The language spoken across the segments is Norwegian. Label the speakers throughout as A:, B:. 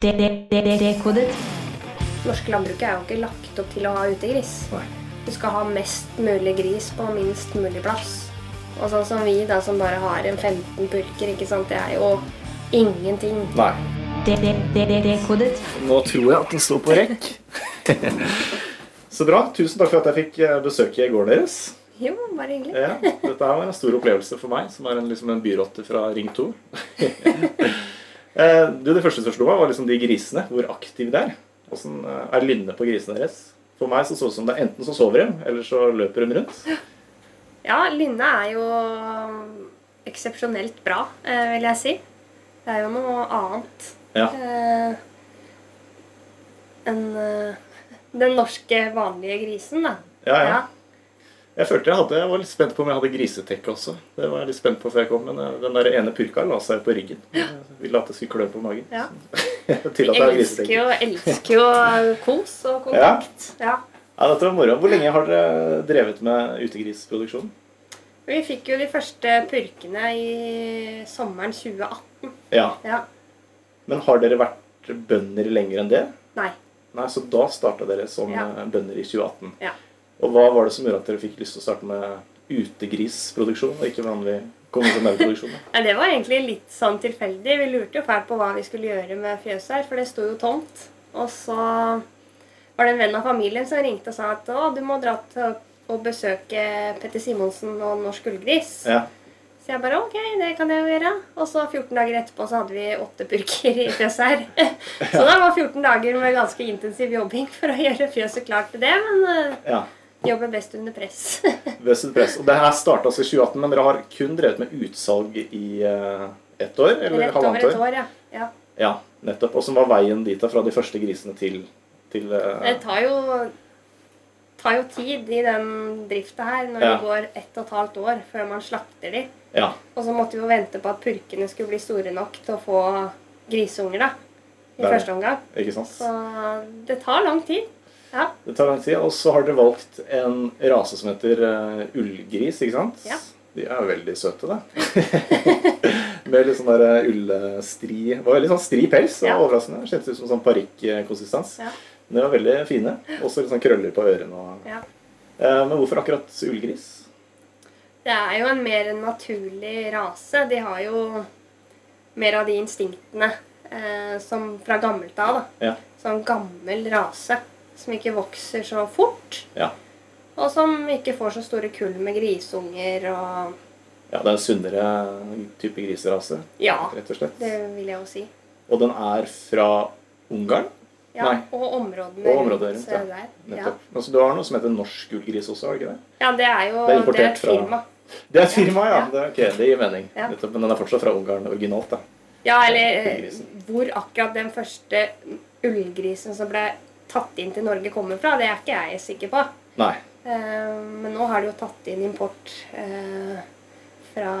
A: Det, det, det, det, dekodet.
B: Norske landbruket er jo ikke lagt opp til å ha utegris.
C: Nei.
B: Du skal ha mest mulig gris på minst mulig plass. Og sånn som vi da, som bare har en 15 pulker, ikke sant, det er jo ingenting.
C: Nei.
A: Det, det, det, det, dekodet.
C: Nå tror jeg at den står på rekk. Så bra. Tusen takk for at jeg fikk eh, besøke gården deres.
B: Jo, bare hyggelig.
C: Ja, dette her var en stor opplevelse for meg, som er en, liksom en byrotte fra Ring 2. Eh, du, det første som slo meg, var liksom de grisene. Hvor aktive de er. Hvordan eh, er lynnet på grisene deres? For meg så så det ut som det er enten så sover de, eller så løper de rundt.
B: Ja, Lynne er jo eksepsjonelt bra, eh, vil jeg si. Det er jo noe annet
C: Ja.
B: eh, enn eh, den norske vanlige grisen, da.
C: Ja, ja. Jeg følte jeg hadde, jeg var litt spent på om jeg hadde grisetekke også. Det var jeg litt spent på før jeg kom, men eh, den der ene purka la seg på ryggen. Jeg ville at det skulle klø på magen.
B: Ja.
C: Så Til at
B: Jeg
C: jeg har
B: elsker
C: grisetekke.
B: jo, elsker jo eh, kos og
C: Ja.
B: kontakt. ja.
C: Ja, dette var moro. Hvor lenge har dere drevet med utegrisproduksjon?
B: Vi fikk jo de første purkene i sommeren 2018.
C: Ja.
B: Ja.
C: Men har dere vært bønder lenger enn det?
B: Nei.
C: Nei, så da starta dere som
B: Ja.
C: eh, bønder i 2018.
B: Ja.
C: Og hva var det som gjorde at dere fikk lyst til å starte med utegrisproduksjon, og ikke vanlig konvensjonell produksjon? da?
B: Nei, Det var egentlig litt sånn tilfeldig. Vi lurte jo fælt på hva vi skulle gjøre med fjøset her, for det sto jo tomt. Og så var det en venn av familien som ringte og sa at å, du må dra til og besøke Petter Simonsen og Norsk Ullgris.
C: Ja.
B: Så jeg bare OK, det kan jeg jo gjøre. Og så 14 dager etterpå så hadde vi åtte purker i fjøset her. Så det var 14 dager med ganske intensiv jobbing for å gjøre fjøset klart til det, men eh,
C: ja.
B: jobber best under press.
C: Vested Press. Og det her starta altså i 2018, men dere har kun drevet med utsalg i eh, ett år? Eller
B: Rett over
C: halvannet
B: et
C: år?
B: år, ja. ja.
C: Ja, nettopp. Og som var veien dit da, fra de første grisene til, til eh,
B: Det tar jo, tar jo tid i den drifta her, når
C: Ja.
B: det går ett og et halvt år før man slakter de.
C: Ja.
B: Og så måtte vi jo vente på at purkene skulle bli store nok til å få grisunger, da. I
C: Der.
B: første omgang.
C: Ikke sant?
B: Så det tar lang tid. Ja.
C: Det tar lang tid. Og så har dere valgt en rase som heter eh, ullgris, ikke sant?
B: Ja.
C: De er jo veldig søte, da. Med litt sånn der eh, ullstri Det var veldig sånn stri pels. Det var
B: Ja.
C: overraskende. Det Kjentes ut som sånn parykkonsistens.
B: Ja.
C: Men de var veldig fine. Også litt sånn krøller på ørene og
B: ja.
C: Eh, Men hvorfor akkurat ullgris?
B: Det er jo en mer naturlig rase. De har jo mer av de instinktene eh, som fra gammelt av. da.
C: Ja.
B: Sånn gammel rase som ikke vokser så fort.
C: Ja.
B: Og som ikke får så store kull med grisunger og
C: Ja, det er en sunnere type griserase,
B: Ja,
C: rett og slett.
B: det vil jeg jo si.
C: Og den er fra Ungarn,
B: Ja,
C: Nei.
B: Og områdene
C: Og området rundt, ja.
B: eh, der. Ja.
C: nettopp. Altså, du har noe som heter norsk ullgris også, har du ikke det?
B: ja, det er jo
C: Det er
B: det
C: importert
B: er et
C: fra-
B: firma.
C: Det er et firma, ja.
B: Ja.
C: Det, er- ok, det gir mening.
B: Ja.
C: Nettopp, men den er fortsatt fra Ungarn originalt, da.
B: Ja, eller eh,
C: Ullgrisen.
B: hvor akkurat den første ullgrisen som ble tatt inn til Norge, kommer fra, det er ikke jeg sikker på.
C: Nei.
B: Eh, Men nå har de jo tatt inn import eh, fra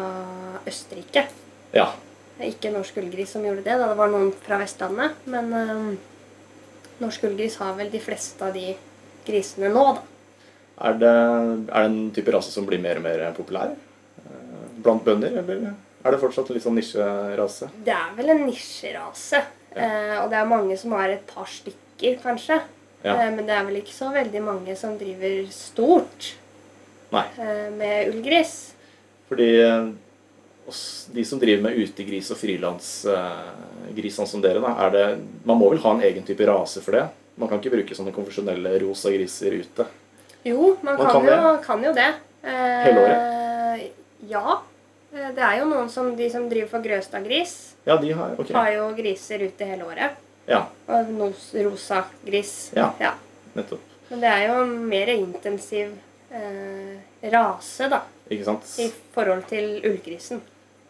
B: Østerrike.
C: Ja.
B: Det er ikke norsk ullgris som gjorde det, da det var noen fra Vestlandet. Men eh, norsk ullgris har vel de fleste av de grisene nå, da.
C: Er det, er det en type rase som blir mer og mer populær eh, blant bønder, eller er det fortsatt en litt sånn nisjerase?
B: Det er vel en nisjerase. eh, Og det er mange som har et par stykker, kanskje.
C: Ja.
B: Eh, Men det er vel ikke så veldig mange som driver stort
C: Nei.
B: eh, med ullgris.
C: Fordi eh, oss, de som driver med utegris og frilansgris, sånn som dere, da, er det Man må vel ha en egen type rase for det? Man kan ikke bruke sånne konvensjonelle rosa griser ute.
B: Jo, man,
C: Man
B: kan,
C: kan
B: jo, kan jo det. Eh,
C: Hele
B: Ja. Eh, Det er jo noen som de som driver for Grøstad-gris,
C: Ja, de har Ok.
B: har jo griser ute hele året.
C: Ja,
B: Og nos- rosa gris.
C: Ja. nettopp.
B: Men det er jo en mer intensiv eh, rase, da,
C: Ikke sant?
B: i forhold til ullgrisen.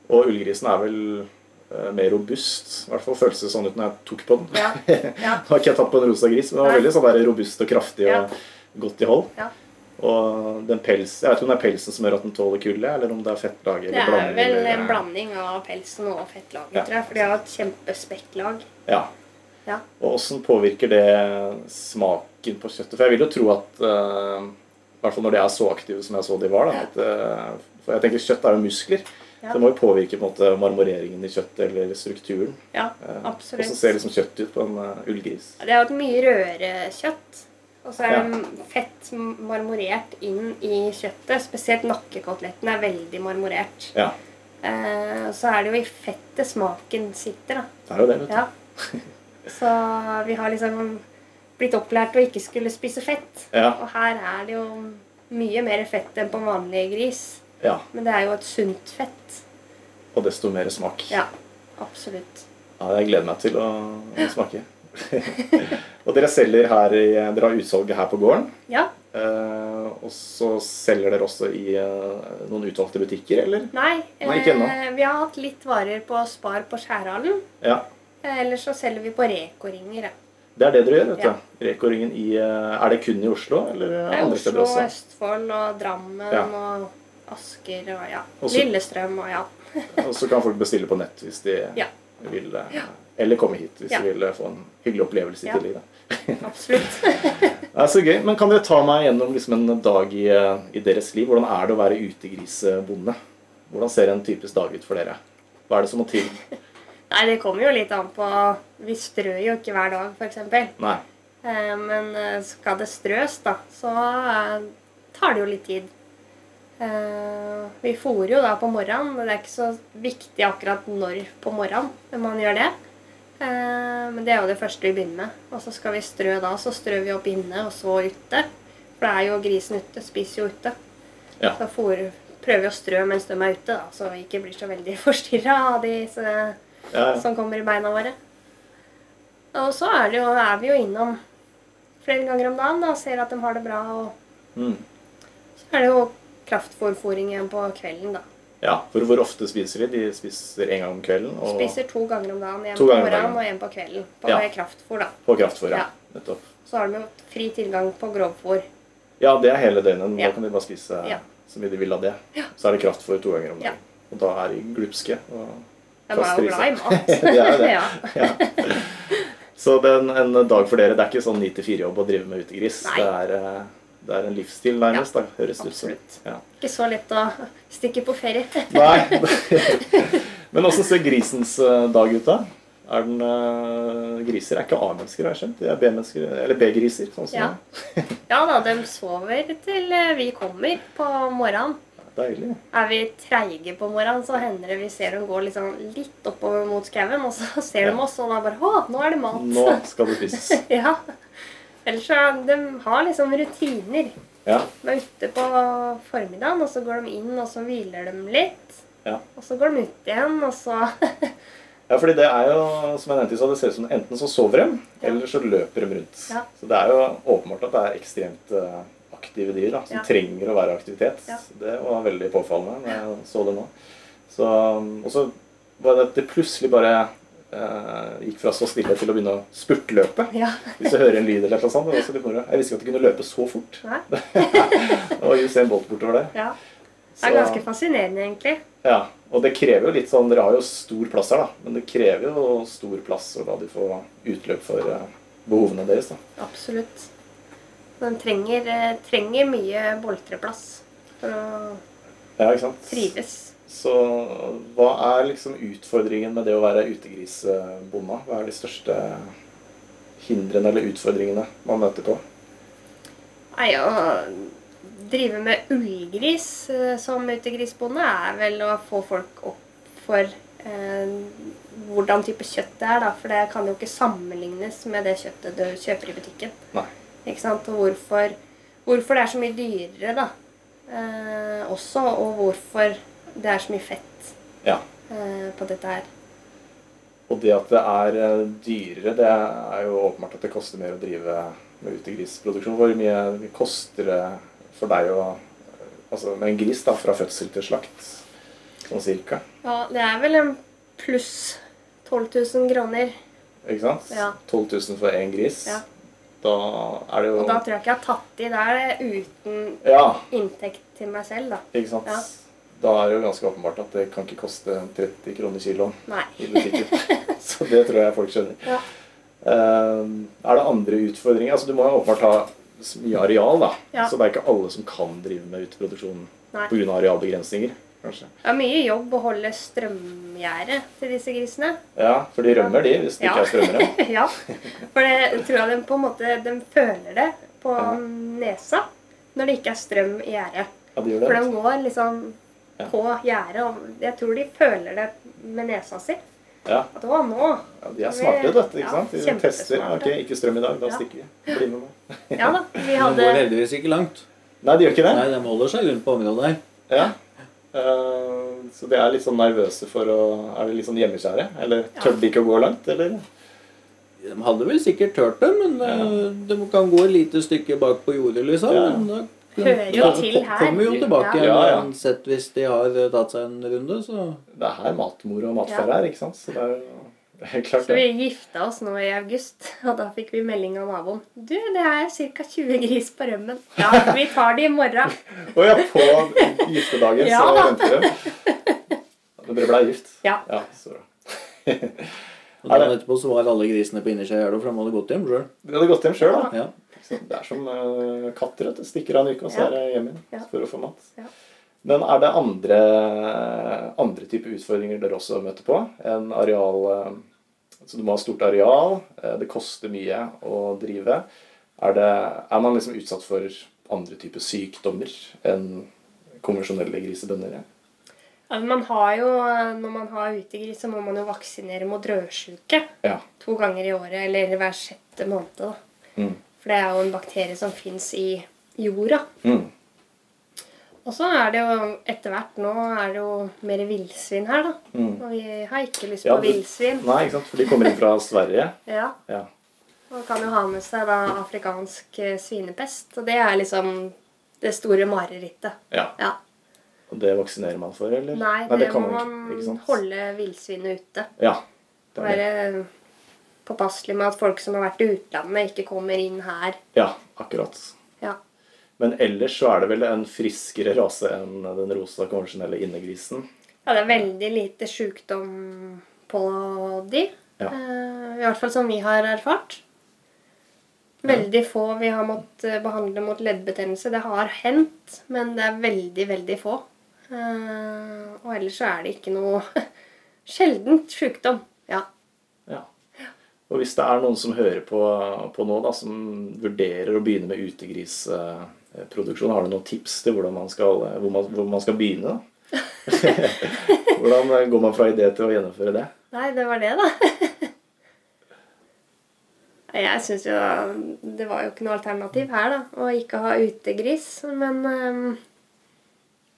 C: Og ullgrisen er vel eh, mer robust. I hvert fall føltes det sånn ut når jeg tok på den.
B: Ja. ja.
C: Nå har ikke jeg tatt på en rosa gris, men den var
B: Nei.
C: veldig sånn der robust og kraftig og
B: Ja.
C: godt i hold.
B: Ja.
C: Og den pels, Jeg vet ikke om det er pelsen som gjør at den tåler kulde, eller om det er fettlaget
B: Det
C: eller
B: er
C: blanding.
B: vel
C: eller-
B: en blanding av pelsen og fettlaget,
C: Ja.
B: tror jeg. For de har et kjempespekklag.
C: Ja.
B: Ja.
C: Og åssen påvirker det smaken på kjøttet? For jeg vil jo tro at eh, I hvert fall når de er så aktive som jeg så de var. da,
B: Ja.
C: at, eh, For jeg tenker kjøtt er jo muskler.
B: Ja.
C: Så det må jo påvirke på en måte marmoreringen i kjøttet eller strukturen.
B: Ja,
C: Eh, Og så
B: absolutt.
C: ser liksom kjøttet ut på en eh, ullgris.
B: Det er jo et mye rødere kjøtt. Og så er det fett marmorert inn i kjøttet. Spesielt nakkekoteletten er veldig marmorert.
C: Ja,
B: Eh, og så er det jo i fettet smaken sitter, da.
C: det er jo det. vet du.
B: Ja. Så vi har liksom blitt opplært å ikke skulle spise fett.
C: Ja.
B: Og her er det jo mye mer fett enn på vanlig gris.
C: ja.
B: Men det er jo et sunt fett.
C: Og desto mer smak.
B: Ja, absolutt.
C: Ja, jeg gleder meg til å å smake. og dere selger her i eh, Dere har utsalget her på gården.
B: Ja.
C: Eh, og så selger dere også i eh, noen utvalgte butikker, eller?
B: Nei, eh,
C: Nei, ikke ennå.
B: vi har hatt litt varer på Spar på Skjærhallen.
C: Ja.
B: Eh, Ellers så selger vi på Reko-ringer. ja.
C: Det er det dere gjør, vet du.
B: Ja.
C: Reko-ringen i eh, Er det kun i Oslo, eller
B: Det er
C: andre steder
B: Oslo,
C: også?
B: Østfold og Drammen
C: Ja.
B: og Asker og ja.
C: Også-
B: Lillestrøm og ja.
C: Og så kan folk bestille på nett hvis de
B: eh, Ja.
C: vil eh, Eller komme hit hvis
B: Ja.
C: de vil eh, få en hyggelig opplevelse i
B: Ja.
C: tillegg. Da.
B: Absolutt.
C: Det er så gøy. Men kan dere ta meg gjennom liksom, en dag i, eh, i deres liv? Hvordan er det å være utegrisbonde? Hvordan ser en typisk dag ut for dere? Hva er det som må til?
B: Nei, det kommer jo litt an på Vi strør jo ikke hver dag, f.eks.
C: Nei.
B: Eh, Men eh, skal det strøs, da, så eh, tar det jo litt tid. Eh, Vi fôrer jo da på morgenen, men det er ikke så viktig akkurat når på morgenen når man gjør det. Eh, Men det er jo det første vi begynner med. Og så skal vi strø da, så strør vi opp inne og så ute. For det er jo grisen ute, spiser jo ute.
C: Ja.
B: Så fôr, prøver vi å strø mens de er ute, da, så vi ikke blir så veldig forstyrra av de så-
C: Ja, ja.
B: som kommer i beina våre. Og så er, det jo, er vi jo innom flere ganger om dagen da, og ser at de har det bra. Og
C: Mm.
B: så er det jo kraftfôrfôring igjen på kvelden, da.
C: ja. For hvor ofte spiser de? De spiser en gang om kvelden og
B: Spiser to ganger om dagen. En
C: To
B: på
C: ganger
B: morgenen
C: om dagen.
B: og en på kvelden. På
C: Ja.
B: kraftfôr, da.
C: på kraftfôr. Ja.
B: Ja.
C: Nettopp.
B: Så har de jo fri tilgang på grovfôr.
C: Ja, det er hele døgnet. men Da
B: Ja.
C: kan de bare spise
B: Ja.
C: så mye de vil av det. Så er det kraftfôr to ganger om
B: Ja.
C: dagen. Og da er de glupske. Og
B: De er jo glad i mat.
C: Det er jo det.
B: ja.
C: Så det er en, en dag for dere, det er ikke sånn 9-4-jobb å drive med utegris.
B: Nei.
C: Det er, eh, det er en livsstil nærmest, da, høres det ut som.
B: absolutt.
C: Ja.
B: Ikke så lett å stikke på ferie.
C: Nei. Men åssen ser grisens eh, dag ut, da? Er den, eh, griser er ikke A-mennesker, har jeg skjønt. De er B-mennesker, eller B-griser. sånn som
B: Ja. Ja da, de sover til eh, vi kommer på morgenen.
C: Deilig.
B: Er vi treige på morgenen, så hender det vi ser dem gå litt sånn litt oppover mot skauen, og så ser
C: Ja.
B: de oss, og da bare Å, nå er det mat!
C: Nå skal det spises.
B: ja. Ellers så er- de har liksom rutiner.
C: Ja.
B: De er ute på formiddagen, og så går de inn, og så hviler de litt.
C: Ja.
B: Og så går de ut igjen, og så
C: Ja, fordi det er jo, som jeg nevnte, i stad, det ser ut som enten så sover de, eller så løper de rundt.
B: Ja.
C: Så det er jo åpenbart at det er ekstremt eh, aktive dyr da, som
B: Ja.
C: trenger å være i aktivitet.
B: Ja.
C: Det var veldig påfallende når jeg så det nå. Så, og så var det at det plutselig bare eh, gikk fra så stille til å begynne å spurtløpe.
B: Ja.
C: Hvis du hører en lyd eller noe sånt. Det var også litt moro. Jeg visste ikke at de kunne løpe så fort.
B: Nei.
C: Det var Usain Bolt bortover der.
B: Ja. Det er
C: Så-
B: ganske fascinerende, egentlig.
C: ja, og det krever jo litt sånn Dere har jo stor plass her, da. Men det krever jo stor plass å la de få utløp for eh, behovene deres, da.
B: Absolutt. De trenger, eh, trenger mye boltreplass for å
C: Ja, ikke sant?
B: trives.
C: Så hva er liksom utfordringen med det å være utegrisbonde? Hva er de største hindrene eller utfordringene man møter på?
B: Nei, å drive med ullgris eh, som utegrisbonde er vel å få folk opp for eh, hvordan type kjøtt det er, da. For det kan jo ikke sammenlignes med det kjøttet du kjøper i butikken.
C: Nei.
B: Ikke sant? Og hvorfor, hvorfor det er så mye dyrere, da. Eh, også, og hvorfor det er så mye fett
C: Ja.
B: eh, på dette her.
C: Og det at det er eh, dyrere, det er jo åpenbart at det koster mer å drive med utegrisproduksjon. Hvor mye koster det for deg å Altså med en gris, da, fra fødsel til slakt? Sånn cirka.
B: Ja, det er vel en pluss 12 000 kroner.
C: Ikke sant?
B: Ja.
C: 12 000 for én gris.
B: Ja.
C: Da er det jo
B: Og da tror jeg ikke jeg har tatt i. Da er det uten
C: Ja,
B: inntekt til meg selv, da.
C: ikke sant.
B: Ja.
C: Da er det jo ganske åpenbart at det kan ikke koste 30 kroner kiloen
B: Nei.
C: i butikken. Så det tror jeg folk skjønner.
B: Ja.
C: Eh, er det andre utfordringer? Altså, du må jo åpenbart ha s- mye areal, da.
B: Ja.
C: Så det er ikke alle som kan drive med uteproduksjon
B: Nei.
C: pga. arealbegrensninger. kanskje.
B: Det er mye jobb å holde strømgjerdet til disse grisene.
C: Ja, for de rømmer, de, hvis det
B: Ja.
C: ikke er strømmere.
B: ja. For det tror jeg de på en måte de føler det på
C: Ja.
B: nesa når det ikke er strøm i gjerdet.
C: Ja, de gjør
B: For
C: det.
B: de går liksom
C: Ja.
B: på gjerdet, og jeg tror de føler det med nesa si.
C: Ja,
B: At å, nå
C: ja, de er smarte, vet du.
B: Ja,
C: Ikke sant? De
B: kjempesmarte.
C: tester. Ja, Ok, ikke strøm i dag, da
B: Ja.
C: stikker vi. Bli med meg.
B: Ja da. Vi
D: De
B: hadde
D: går heldigvis ikke langt.
C: Nei, de gjør ikke det.
D: Nei, de holder seg rundt på området her.
C: Ja. Eh, så de er litt sånn nervøse for å Er de litt sånn hjemmeskjære? Eller
B: Ja.
C: tør de ikke å gå langt, eller?
D: De hadde vel sikkert tørt det, men eh, de kan gå et lite stykke bak på jordet, liksom.
C: Ja.
D: Men da,
B: Hører jo
D: da
B: til
D: ko-
B: her.
D: Kommer jo tilbake
B: Ja.
D: igjen
C: Ja, ja.
D: uansett hvis de har eh, tatt seg en runde, så
C: Det er her matmor og matfar er, ikke sant? Så det er jo det er helt klart
B: Så vi
C: det.
B: gifta oss nå i august, og da fikk vi melding av naboen. Du, det er ca. 20 gris på rømmen. Ja, vi tar de i morgen.
C: Å ja, på giftedagen
B: Ja,
C: så
B: da.
C: venter de. Men dere ble gift?
B: Ja.
C: Ja, så bra.
D: Og
C: Er det-
D: dagen etterpå så var alle grisene på innersida av gjerdet, for de hadde gått hjem sjøl.
C: Dere hadde gått hjem sjøl, da?
D: Ja.
C: Så Det er som eh, katter, vet du. Stikker av en uke, og så
B: Ja.
C: er det hjem igjen
B: Ja.
C: for å få mat.
B: Ja.
C: Men er det andre, andre typer utfordringer dere også møter på? En areal eh, Så du må ha stort areal, eh, det koster mye å drive. Er, det, er man liksom utsatt for andre typer sykdommer enn konvensjonelle grisebønder? er?
B: Ja, men man har jo, Når man har utegris, så må man jo vaksinere mot rødsjuke
C: Ja.
B: to ganger i året, eller hver sjette måned. da.
C: Mm.
B: For det er jo en bakterie som fins i jorda.
C: Mm.
B: Og så er det jo etter hvert Nå er det jo mer villsvin her, da.
C: Mm.
B: Og vi har ikke lyst
C: Ja,
B: på
C: det-
B: villsvin.
C: Nei, ikke sant? For de kommer inn fra Sverige.
B: Ja.
C: Ja.
B: Man kan jo ha med seg da afrikansk eh, svinepest, og det er liksom det store marerittet.
C: ja.
B: Ja.
C: Og det vaksinerer man for, eller?
B: Nei, det,
C: kan
B: må
C: ikke,
B: man
C: ikke sant?
B: holde villsvinet ute.
C: Ja. Det er det.
B: Være påpasselig med at folk som har vært i utlandet, ikke kommer inn her.
C: Ja, akkurat.
B: Ja.
C: Men ellers så er det vel en friskere rase enn den rosa konvensjonelle innegrisen.
B: ja, det er veldig lite sjukdom på de.
C: Ja.
B: Eh, I hvert fall som vi har erfart. Veldig få vi har måttet eh, behandle mot leddbetennelse. Det har hendt, men det er veldig, veldig få. Eh, og ellers så er det ikke noe sjeldent sjukdom. Ja.
C: Ja. Og hvis det er noen som hører på, på nå, da, som vurderer å begynne med utegrisproduksjon, har du noen tips til hvordan man skal, hvor man, hvor man skal begynne? da? hvordan går man fra idé til å gjennomføre det?
B: Nei, det var det, da. Nei, Jeg syns jo um, Det var jo ikke noe alternativ her, da. Å ikke ha utegris. Men ehm,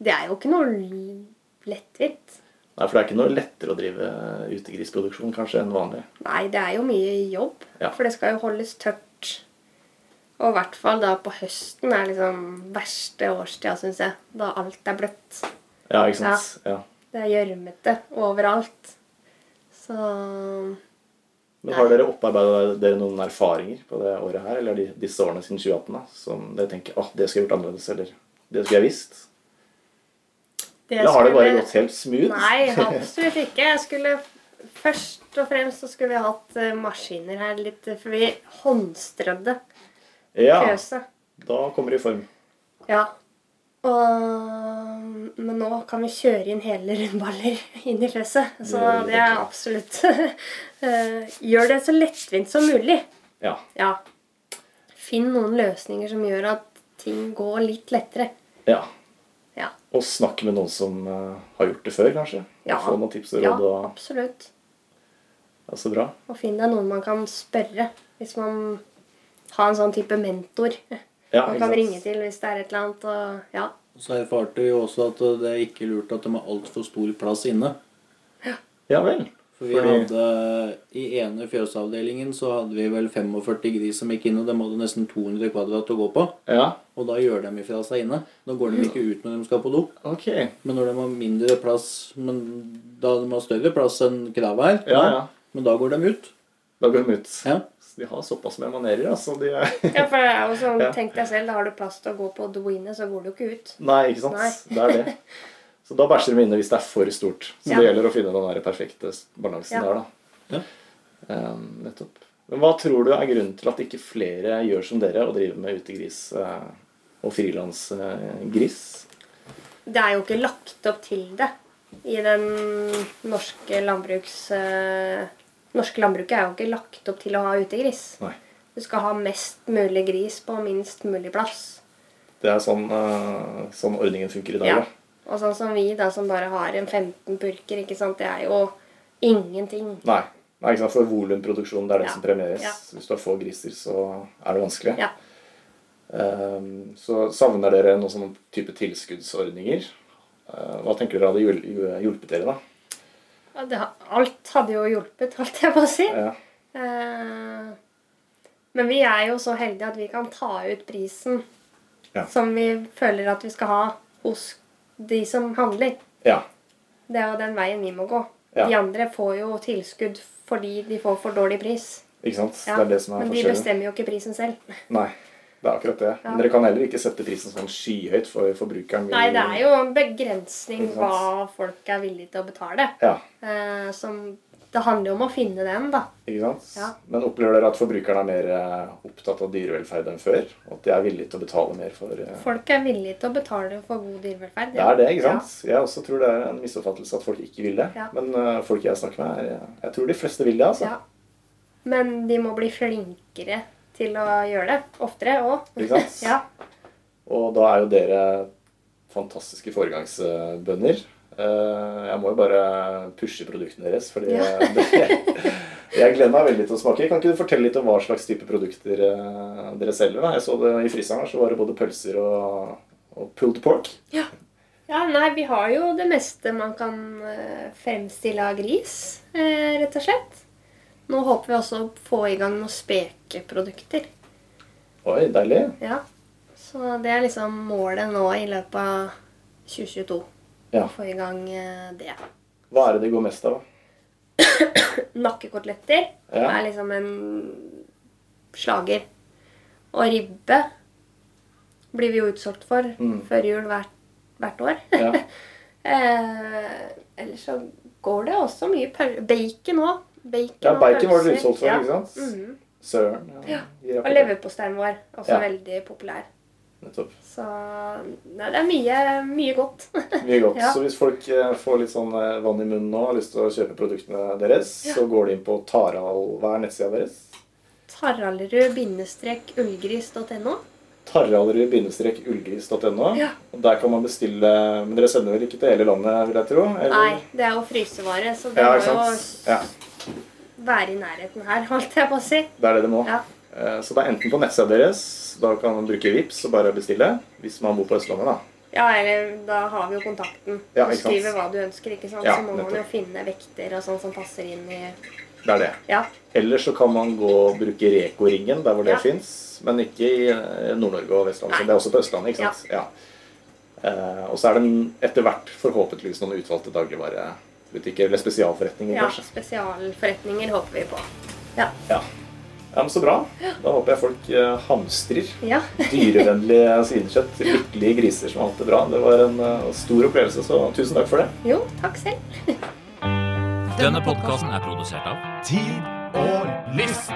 B: det er jo ikke noe l- lettvint.
C: Nei, For det er ikke noe lettere å drive utegrisproduksjon kanskje enn vanlig.
B: Nei, det er jo mye jobb.
C: Ja.
B: For det skal jo holdes tørt. Og i hvert fall da på høsten er liksom verste årstida, syns jeg. Da alt er bløtt.
C: Ja, ikke sant? Ja.
B: Det er gjørmete overalt. Så um,
C: Men Har dere opparbeida dere noen erfaringer på det året her, eller de, disse årene siden 2018? da, Som dere tenker at det skulle jeg gjort annerledes, eller det skulle jeg visst?
B: det
C: Eller har det bare
B: skulle-
C: gått helt smooth?
B: Nei, absolutt ikke. Jeg skulle Først og fremst så skulle vi hatt eh, maskiner her litt, eh, for vi håndstrødde
C: Ja,
B: fjøset.
C: da kommer det i form.
B: Ja. Og, men nå kan vi kjøre inn hele rundballer inn i fjøset. Så
C: Det er
B: det er absolutt eh, Gjør det så lettvint som mulig.
C: Ja.
B: Ja. Finn noen løsninger som gjør at ting går litt lettere.
C: ja.
B: Ja.
C: Og snakke med noen som eh, har gjort det før, kanskje.
B: Ja.
C: Få noen tips og
B: Ja,
C: råd. og-
B: absolutt.
C: Ja, så bra.
B: Og finn deg noen man kan spørre hvis man har en sånn type mentor.
C: Ja,
B: man
C: ikke
B: kan
C: sant?
B: ringe til hvis det er et eller annet. Og, ja.
D: Så erfarte vi jo også at eh, det er ikke lurt at de har altfor stor plass inne.
C: Ja vel.
D: For vi
C: Fordi-
D: hadde, eh, I ene fjøsavdelingen så hadde vi vel 45 gris som gikk inn, og de hadde nesten 200 kvadrat å gå på.
C: Ja,
D: Og da gjør de ifra seg inne. Da går de ikke ut når de skal på do.
C: ok.
D: Men når de har mindre plass men Da de har større plass enn kravet her,
C: Ja, ja.
D: men da går de ut.
C: Da går de ut.
D: Ja.
C: Så de har såpass med manerer, altså. De er...
B: ja, for det er jo sånn,
C: Ja.
B: tenk deg selv, da har du plass til å gå på do inne, så går du jo ikke ut.
C: Nei, ikke sant.
B: Nei.
C: Det er det. Så da bæsjer de inne hvis det er for stort. Så det
B: Ja.
C: gjelder å finne den der perfekte balansen
B: Ja.
C: der, da.
D: Ja.
C: Eh, nettopp. Men hva tror du er grunnen til at ikke flere eh, gjør som dere og driver med utegris eh, og frilansgris?
B: det er jo ikke lagt opp til det i den norske landbruks... eh, norske landbruket er jo ikke lagt opp til å ha utegris.
C: Nei.
B: Du skal ha mest mulig gris på minst mulig plass.
C: Det er sånn, eh, sånn ordningen funker i dag.
B: Ja.
C: da.
B: Og sånn som vi da, som bare har en 15 purker, ikke sant, det er jo ingenting.
C: Nei. Nei, ikke sant? For volumproduksjon det er det
B: Ja.
C: som premieres.
B: Ja.
C: Så Hvis du har få griser, så er det vanskelig.
B: Ja.
C: Ehm, så savner dere noen sånne type tilskuddsordninger? Eh, hva tenker dere hadde hjul- hjul- hjulpet dere, da?
B: Ja, det ha- Alt hadde jo hjulpet, holdt jeg på å si.
C: Ja.
B: Eh, Men vi er jo så heldige at vi kan ta ut prisen
C: Ja.
B: som vi føler at vi skal ha hos de som handler.
C: ja.
B: Det er jo den veien vi må gå.
C: Ja.
B: De andre får jo tilskudd fordi de får for dårlig pris.
C: Ikke sant?
B: Ja,
C: Det er det som er
B: Men de
C: forskjellen.
B: bestemmer jo ikke prisen selv.
C: Nei, det er akkurat det.
B: Ja.
C: Men dere kan heller ikke sette prisen sånn skyhøyt for forbrukeren. vil-
B: Nei, det er jo en begrensning
C: Ikke sant.
B: hva folk er villige til å betale.
C: Ja,
B: Eh, som, det handler jo om å finne den, da.
C: ikke sant?
B: Ja.
C: Men opplever dere at forbrukeren er mer eh, opptatt av dyrevelferd enn før? Og at de er villige til å betale mer for eh,
B: Folk er villige til å betale for god dyrevelferd.
C: Det
B: ja.
C: er det, ikke sant? Jeg også tror det er en misoppfattelse at folk ikke vil det.
B: Ja.
C: Men eh, folk jeg snakker med, er, eh, jeg tror de fleste vil det. altså.
B: Ja. Men de må bli flinkere til å gjøre det. Oftere òg.
C: Ikke sant?
B: ja.
C: Og da er jo dere fantastiske foregangsbønder. Eh, Jeg må jo bare pushe produktene deres, fordi
B: Ja.
C: jeg gleder meg veldig til å smake. Kan ikke du fortelle litt om hva slags type produkter eh, dere selger? da? Jeg så det I fryseren her så var det både pølser og, og pulled pork.
B: ja, nei, vi har jo det meste man kan eh, fremstille av gris, eh, rett og slett. Nå håper vi også å få i gang noen spekeprodukter.
C: Oi, deilig.
B: Ja. Så det er liksom målet nå i løpet av 2022.
C: Ja.
B: Å få i gang eh, det.
C: Hva er det det går mest av?
B: Nakkekoteletter
C: Ja.
B: er liksom en slager. Og ribbe blir vi jo utsolgt for
C: Mm.
B: før jul hvert, hvert år.
C: Ja.
B: eh, ellers så går det også mye pøl... Bacon òg. Bacon
C: Ja,
B: og
C: bacon var
B: pølser.
C: dere utsolgt for,
B: Ja.
C: ikke sant?
B: Mhm.
C: Søren.
B: Ja.
C: gir jeg
B: Og
C: på det.
B: leverposteien vår, også
C: Ja.
B: veldig populær.
C: Nettopp.
B: Så nei, det er mye, mye godt.
C: Mye godt.
B: Ja.
C: Så hvis folk eh, får litt sånn eh, vann i munnen nå og har lyst til å kjøpe produktene deres, så går de inn på Tarald... Hva er nettsida deres?
B: Taraldrud-ullgris.no.
C: Taraldrud-ullgris.no.
B: Ja.
C: Og Der kan man bestille Men dere sender vel ikke til hele landet, vil jeg tro? eller?
B: Nei, det er jo frysevare, så det
C: Ja,
B: må
C: ikke
B: jo
C: sant? Ja,
B: være i nærheten her, holdt jeg på å si.
C: det er det det må.
B: Ja.
C: Eh, Så det er enten på nettsida deres, da kan man bruke VIPS og bare bestille. Hvis man bor på Østlandet, da.
B: Ja, eller da har vi jo kontakten.
C: Ja,
B: du
C: ikke sant.
B: skriver hva du ønsker, ikke sant?
C: Ja,
B: så må man jo
C: nettopp.
B: finne vekter og sånn som passer inn i
C: Det er det.
B: Ja.
C: Eller så kan man gå og bruke Reko-ringen der hvor det
B: Ja.
C: fins, men ikke i eh, Nord-Norge og Vestlandet.
B: Nei.
C: så Det er også på Østlandet, ikke sant? Ja. Eh, og så er det en- etter hvert forhåpentligvis noen utvalgte dagligvarebutikker eller spesialforretninger,
B: ja.
C: kanskje.
B: Spesialforretninger håper vi på. Ja.
C: Ja. ja, men Så bra. Da håper jeg folk eh, hamstrer
B: Ja.
C: dyrevennlig svinekjøtt. Lykkelige griser som har hatt det bra. Det var en eh, stor opplevelse, så tusen takk for det.
B: Jo, takk selv.
E: Denne podkasten er produsert av
F: Tid og lyst.